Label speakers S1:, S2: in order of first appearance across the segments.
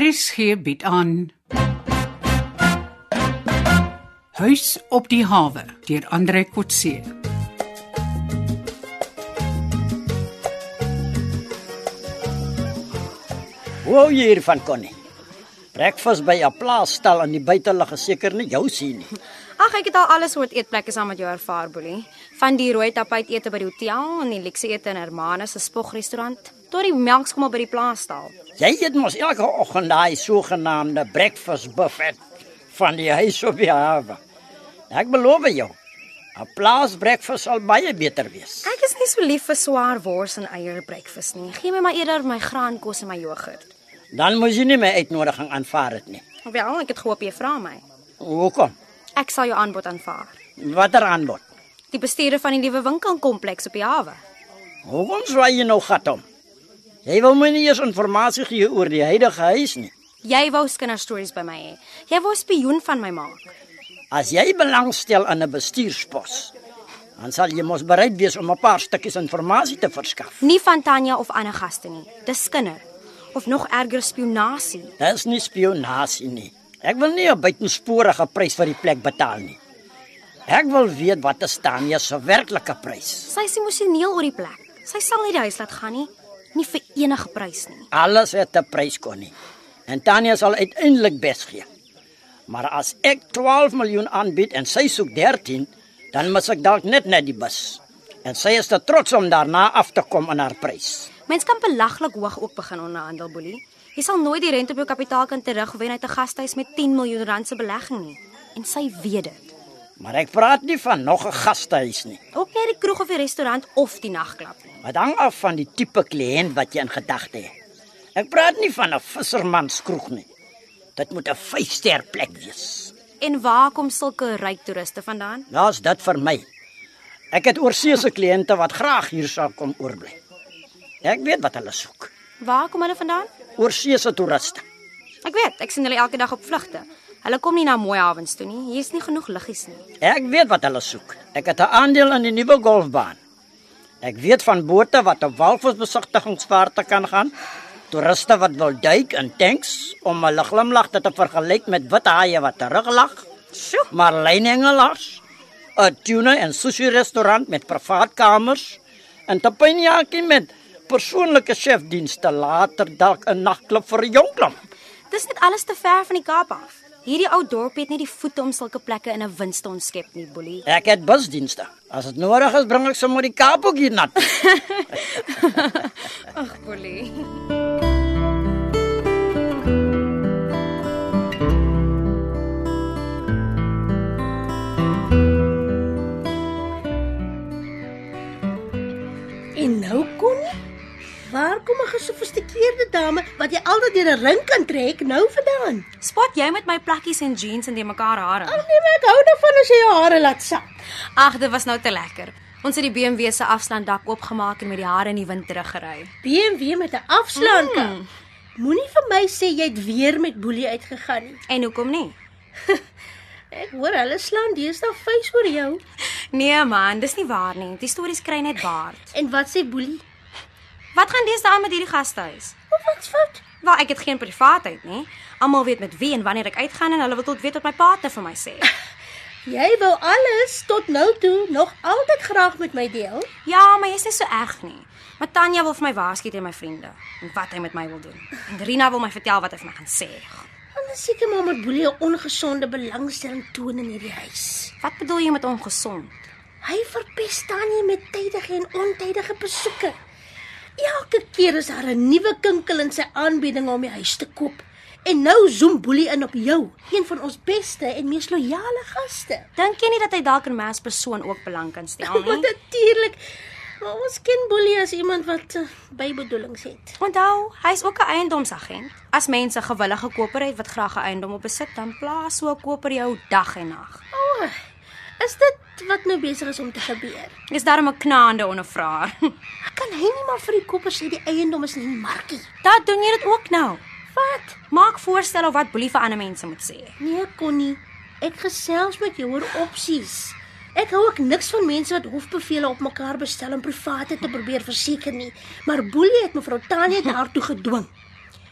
S1: RSG bied aan Huis op die hawe deur Andre Kotse.
S2: Hoe hou jy hiervan kon nie? Breakfast by 'n plaasstal aan die buitelug is seker nie jou sien nie.
S3: Ag, ek het al alle soort eetplekke saam met jou ervaar, Boelie. Van die rooi tapuitete by die hotel en die lekse ete in Hermanus se spoogrestaurant tot die melkskommel by die plaasstaal.
S2: Jy eet mos elke oggend daai sogenaamde breakfast buffet van die huis op die hawe. Ek beloof jou, 'n plaas breakfast sal baie beter wees.
S3: Ek is nie so lief vir swaar wors en eier breakfast nie. Gee my maar eerder my graankos en my jogurt.
S2: Dan moes jy nie my uitnodiging aanvaar het nie.
S3: Wel, ek het gehoop jy vra my.
S2: Hoekom?
S3: Ek sal jou aanbod aanvaar.
S2: Watter aanbod?
S3: Die bestuurder van die nuwe winkelkompleks op die hawe.
S2: Hoekom swaai jy nou gat om? Jy wil my nie eens inligting gee oor die huidige huis nie.
S3: Jy wou kinderstories by my hê. Jy wou 'n spioen van my maak.
S2: As jy belangstel aan 'n bestuurspos, dan sal jy mos bereid wees om 'n paar stukkies inligting te verskaf.
S3: Nie van Tanya of ander gaste nie. Dis kinder. Of nog erger spionasie.
S2: Dit is nie spionasie nie. Ek wil nie 'n buitensporige prys vir die plek betaal nie. Ek wil weet wat is Tanya se werklike prys.
S3: Sy's emosioneel oor die plek. Sy sal nie die huis laat gaan nie, nie vir enige prys nie.
S2: Alles het 'n prys kon nie. En Tanya sal uiteindelik bes gee. Maar as ek 12 miljoen aanbied en sy soek 13, dan mis ek dalk net net die bus. En sy is te trots om daarna af te kom aan haar prys.
S3: Mens kan belaglik hoog ook begin onderhandel, Boelie. Jy sal nooit die rente op jou kapitaal kan terugwen uit 'n gastehuis met 10 miljoen rand se belegging nie. En sy weet dit.
S2: Maar ek praat nie van nog 'n gastehuis nie.
S3: Ook nie die kroeg of die restaurant of die nagklub nie.
S2: Dit hang af van die tipe kliënt wat jy in gedagte het. Ek praat nie van 'n vissermanskroeg nie. Dit moet 'n vyfster plek wees.
S3: En waar kom sulke ryk toeriste vandaan?
S2: Daar's dit vir my. Ek het oorsee se kliënte wat graag hier sal kom oorbly. Ek weet wat hulle soek.
S3: Waar kom hulle vandaan?
S2: Oorsee se toeriste.
S3: Ek weet, ek sien hulle elke dag op vlugte. Hulle kom nie na mooi hawens toe nie. Hier's nie genoeg liggies nie.
S2: Ek weet wat hulle soek. Ek het 'n aandeel in die nuwe golfbaan. Ek weet van bote wat op walvisbesigtigingsvaarte kan gaan. Toeriste wat wil duik in tanks om 'n glimlagte te vergelyk met wit haie wat teruglag.
S3: Sjoe.
S2: Maar lynengelaars, 'n tuna en sushi restaurant met privaat kamers en tapinjaki met persoonlike chefdienste later dalk 'n nagklub vir 'n jong klomp.
S3: Dis net alles te ver van die Kaap af. Hierdie ou dorp het nie die voete om sulke plekke in 'n wind te ontskep nie, Boelie.
S2: Ek het busdienste. As dit nodig is, bring ek sommer die Kaap ook hier nat.
S3: Ag, Boelie.
S4: En nou kon Waar kom 'n gesofistikeerde dame wat jy altyd deur 'n ring kan trek nou vandaan?
S3: Spot jy met my plakkies en jeans en die mekaar hare.
S4: Ag nee, maar ek hou daarvan as jy jou hare laat sak.
S3: Ag, dit was nou te lekker. Ons het die BMW se afslandak oopgemaak en met die hare in die wind teruggery.
S4: BMW met 'n afslaanka. Mm. Moenie vir my sê jy het weer met Boelie uitgegaan nie.
S3: En hoekom nie?
S4: Ek hoor hulle slaan deesdae vuis oor jou.
S3: Nee man, dis nie waar nie. Die stories kry net baard.
S4: En wat sê Boelie?
S3: Wat gaan deesdae aan met hierdie gastehuis?
S4: Of wat's fout?
S3: Wel, ek het geen privaatheid nie. Almal weet met wie en wanneer ek uitgaan en hulle wil tot weet wat my partner vir my sê.
S4: Jy wou alles tot nou toe nog altyd graag met my deel.
S3: Ja, maar jy's nie so erg nie. Maar Tanya wil vir my waarsku teen my vriende en wat hy met my wil doen. En Rina wil my vertel wat hy vir my gaan sê.
S4: Hulle seker maar met Boelie 'n ongesonde belangstelling toon in hierdie huis.
S3: Wat bedoel jy met ongesond?
S4: Hy verpes Tannie met tydige en ontydige besoeke. Elke keer is daar 'n nuwe kinkel in sy aanbieding om die huis te koop. En nou zoom Boelie in op jou, een van ons beste en mees loyale gaste.
S3: Dink jy nie dat hy dalk in my as persoon ook belang kan stel
S4: Maar
S3: nie?
S4: natuurlik, maar ons ken Boelie as iemand wat eh, bybedoelings het.
S3: Onthou, hy's ook 'n eiendomsagent. As mense gewillige koper het wat graag 'n eiendom op besit, dan plaas so 'n koper jou dag en nag.
S4: O, oh, is dit wat nou besig is om te gebeur?
S3: Dis daarom 'n knaande ondervraer.
S4: Kan hy nie maar vir die kopper sê die eiendom is nie in die markie?
S3: Dat doen jy dit ook nou.
S4: Wat?
S3: Maak voorstelle of wat boelie vir ander mense moet sê.
S4: Nee, Connie, ek gesels met jou oor opsies. Ek hou ook niks van mense wat hofbevele op mekaar bestel om private te probeer verseker nie, maar Boelie het mevrou Tanya daartoe gedwing.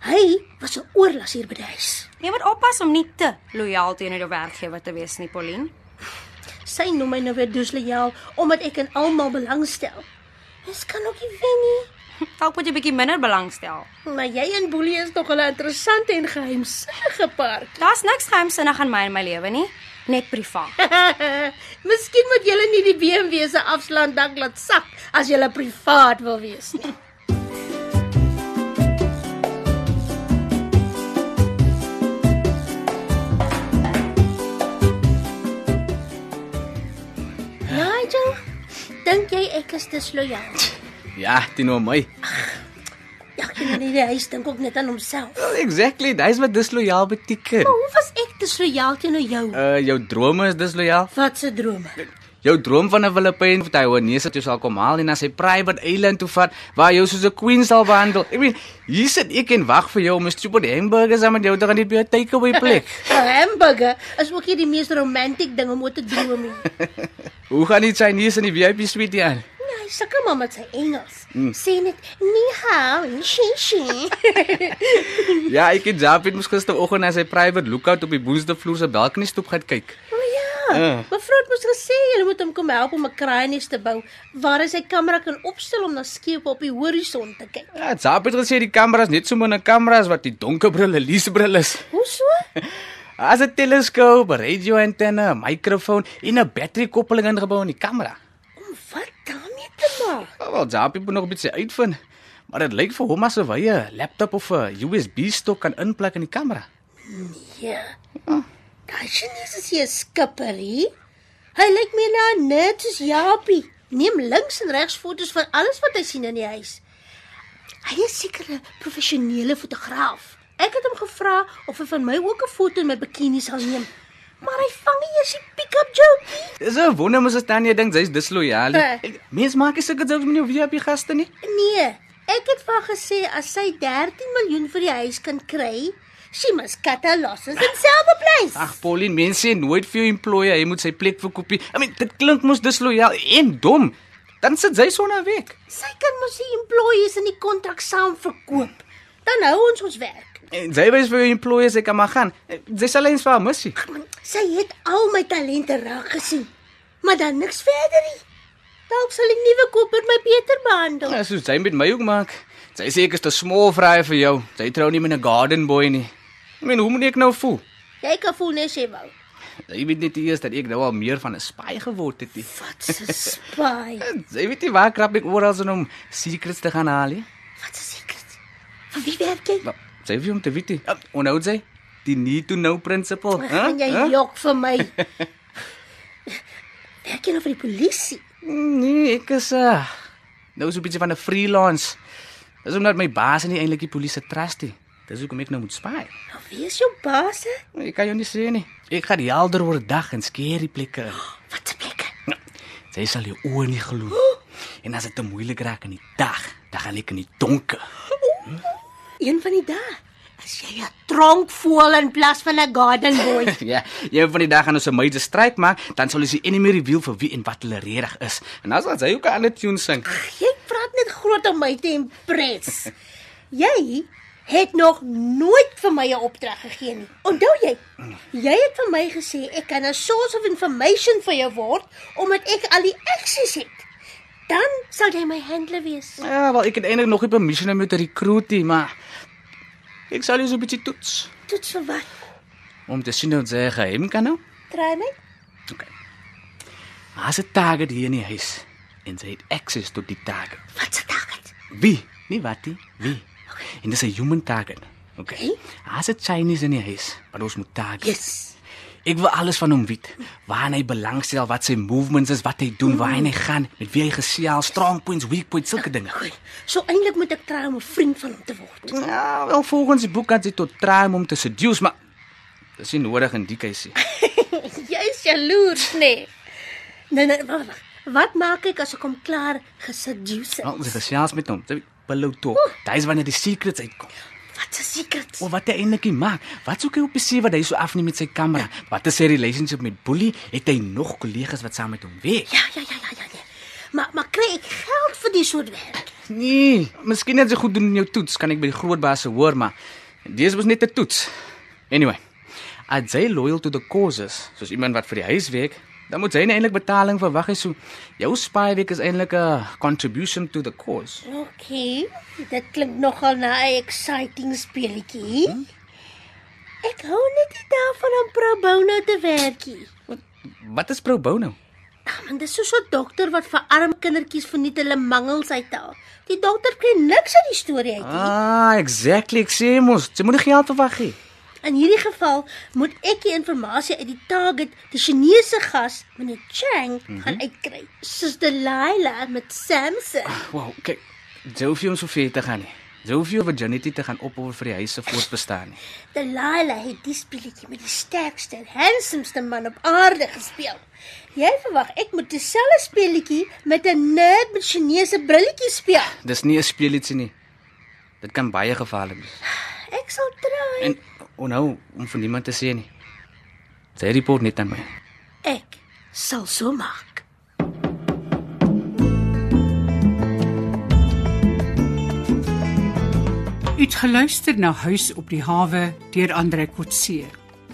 S4: Hy was 'n oorlasier by die huis.
S3: Jy moet oppas om nie te lojaal teenoor jou werkgewer te wees nie, Pauline.
S4: Sy noem my nou weer doeslejaal omdat ek in almal belangstel. Dis kan ook nie wen nie.
S3: Dalk moet jy bietjie minder belangstel.
S4: Maar jy en Boelie is nog 'n interessante en geheimsinnige paar.
S3: Daar's niks geheimsinnig aan my en my lewe nie, net privaat.
S4: Miskien moet julle nie die BMW se afslandak laat sak as julle privaat wil wees nie. Nigel, dink jy ek is disloyaal?
S5: Ja, teenoor my.
S4: Ja, jy nee, hy dink ook net aan homself.
S5: Exactly, dis wat disloyaal beteken.
S4: Maar Oh, hoe was ek disloyaal teenoor jou?
S5: Uh jou drome is disloyaal.
S4: Wat se drome?
S5: Jou droom van 'n Filippyn wat hy Hoënese toe sal kom haal en na sy private eiland toe vat waar hy jou soos 'n queen sal behandel. Ek meen, hier sit ek en wag vir jou om 'n stupid hamburger saam met jou te gaan eet by 'n takeaway plek.
S4: 'n Hamburger is ook nie die mees romantiek ding om oor te droom nie.
S5: Hoe gaan die Chinese in die VIP suite hier aan?
S4: Nee, hy sukkel maar met sy Engels. Mm. Sê net ni hao en shi shi.
S5: Ja, ek en Jaap het mos gisteroggend na sy private lookout op die boonsdevloer se balkonie stoep gaan kyk.
S4: O ja. Uh. Mevrou het mos gesê jy moet hom kom help om 'n kraaienies te bou waar hy sy kamera kan opstel om na skepe op die horison te kyk.
S5: Ja, Jaap het gesê die kamera's net so 'n kamera's wat die donker brille, leesbril is.
S4: Hoe so?
S5: As 'n teleskoop, 'n radio-antenne, 'n mikrofoon en 'n batterykoppeling ingebou in die kamera.
S4: Om wat daarmee te maak?
S5: Oh, wel, Jaapie moet nog 'n bietjie uitvind. Maar dit lyk vir hom asof hy 'n laptop of 'n USB stok kan inplek in die kamera.
S4: Ja. Daai Chinese is hier 'n skipperie. Hy lyk meer na 'n nerd soos Japie. Neem links en regs foto's van alles wat hy sien in die huis. Hy is seker 'n professionele fotograaf. Ek het hom gevra of hy van my ook 'n foto in my bikini sal neem, maar hy vang nie eers die pick-up joke nie.
S5: Dis 'n wonder mos as Tanya dink sy's disloyaal.
S4: Eh.
S5: Ek- Mens maak nie sulke jokes met jou VIP gaste nie.
S4: Nee, ek het vir haar gesê as sy 13 miljoen vir die huis kan kry, she must cut her losses and sell the place.
S5: Ag, Pauline, mense sê nooit vir jou employer hy moet sy plek verkoop nie. I mean, dit klink mos disloyaal en dom. Dan sit sy sonder werk.
S4: Sy kan mos die employees in die kontrak saam verkoop. Dan hou ons ons werk.
S5: En sy wys vir jou employer sy kan maar gaan. Sy sal eens vir haar missie.
S4: Sy het al my talente raak gesien, maar dan niks verder nie. Dalk sal die nuwe koper my beter behandel.
S5: Ja, soos sy met my ook maak. Sy sê ek is te smal vrae vir jou. Sy trou nie met 'n garden boy nie. Ek meen, hoe moet ek nou voel?
S4: Jy kan voel net sy wou.
S5: Sy weet net eers dat ek nou al meer van 'n spy geword het. nie.
S4: Wat 'n spy.
S5: Sy weet nie waar krap ek oral in om secrets te gaan haal nie.
S4: Wat 'n sekret. Vir wie werk jy?
S5: Wel, Sy weet om te weet. nie. Ah, Onthou sy die need to know principle, hè?
S4: Gaan jy
S5: Hè?
S4: jok vir my? Werk jy nou vir die polisie?
S5: Nee, ek is uh, nou so 'n bietjie van 'n freelance. Dis omdat my baas nie eintlik die polisie trust nie. Dis hoekom ek nou moet spy.
S4: Nou wie is jou baas? hè?
S5: Ek kan jou nie sê nie. Ek gaan helder oor dag en skerry plekke in.
S4: Wat 'n plek.
S5: Nou, Sy sal jou oë nie glo. En as dit te moeilik raak in die dag, dan gaan ek in die donker.
S4: Een van die dae as jy 'n tronk voel in plaas van 'n garden boy.
S5: ja, een van die dag gaan ons 'n myde stryd maak, dan sal ons die enemy reveal vir wie en wat hulle regtig is. En dan sal sy ook 'n ander tune sing.
S4: jy praat net groot om my te impress. Jy het nog nooit vir my 'n opdrag gegee nie. Onthou jy? Jy het vir my gesê ek kan 'n source of information vir jou word omdat ek al die aksies het. Dan sal jy my handler wees.
S5: Ja, wel ek het eintlik nog nie permission om jou te recruit nie, maar ek sal jou so 'n bietjie toets
S4: Tot so wat?
S5: om te sien of jy geheim kan hou.
S4: Try my.
S5: Haas 'n target hier in die huis en sy het access tot die target.
S4: Wat se dag het?
S5: Wie? Nie wat nie, wie. En dis 'n human target. Okay. Haas 'n Chinese in die huis, maar ons moet target.
S4: Yes.
S5: Ek wil alles van hom weet. Waar hy belangstel, wat sy movements is, wat hy doen, waar hy gaan, met wie hy gesels, strong points, weak points, sulke dinge.
S4: Goed. So eintlik moet ek try om 'n vriend van hom te word.
S5: Ja, wel volgens die boek kan sy tot traai om hom te seduce, maar dis nie nodig in die keuse.
S4: Jy's jaloers, nê? Nee. Nee nee, wag. wag. Wat maak ek as ek hom klaar geseduce het?
S5: Nou, sy gesels met hom. Sy pillow talk. Dis wanneer die secrets uitkom.
S4: Wat 'n secret.
S5: Of wat hy eintlik nie maak. Wat soek hy op die see wat hy so afneem met sy kamera? Wat is sy relationship met Boelie? Het hy nog kollegas wat saam met hom werk?
S4: nee. Ja, ja, ja, ja, ja. ja. Maar maar kry ek geld vir die soort werk?
S5: Nee, miskien net so goed doen in jou toets, kan ek by die groot baas se hoor, maar dis was net 'n toets. Anyway, as jy loyal to the causes, soos iemand wat vir die huis werk, dan moet jy nou eintlik betaling verwag hê so. Jou spaarweek is eintlik 'n contribution to the cause.
S4: OK. Dit klink nogal na 'n exciting speletjie. Hmm? Ek hou net nie daarvan om pro bono te Ja, werkie.
S5: Wat wat is pro bono?
S4: Ag man, dis soos 'n dokter wat vir arm kindertjies verniet hulle mangels uithaal. Die dokter kry niks uit die storie uit nie.
S5: Ah, exactly, ek sê mos, jy moet nie geld verwag nie.
S4: In hierdie geval moet ek die inligting uit die target, die Chinese gas, meneer Chang, mm -hmm. gaan uitkry. Soos Delilah met Samson.
S5: Wow, kyk, jy hoef nie om so ver te gaan nie. Jy hoef nie oor Janetty te gaan opoffer vir die huis se voortbestaan nie.
S4: Delilah het die speletjie met die sterkste, handsomste man op aarde gespeel. Jy verwag ek moet dieselfde speletjie met 'n nerd met Chinese brilletjies speel.
S5: Dis nie 'n speelietjie nie. Dit kan baie gevaarlik wees.
S4: Ek sal try.
S5: En onthou om vir niemand te sê nie. Jy report net aan my.
S4: Ek sal so maak.
S1: Uitgeluister na Huis op die hawe deur Andre Kotse.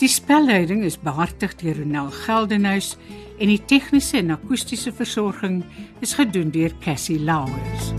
S1: Die spelleiding is behartig deur Ronel Geldenhuys en die tegniese en akoestiese versorging is gedoen deur Cassie Lauers.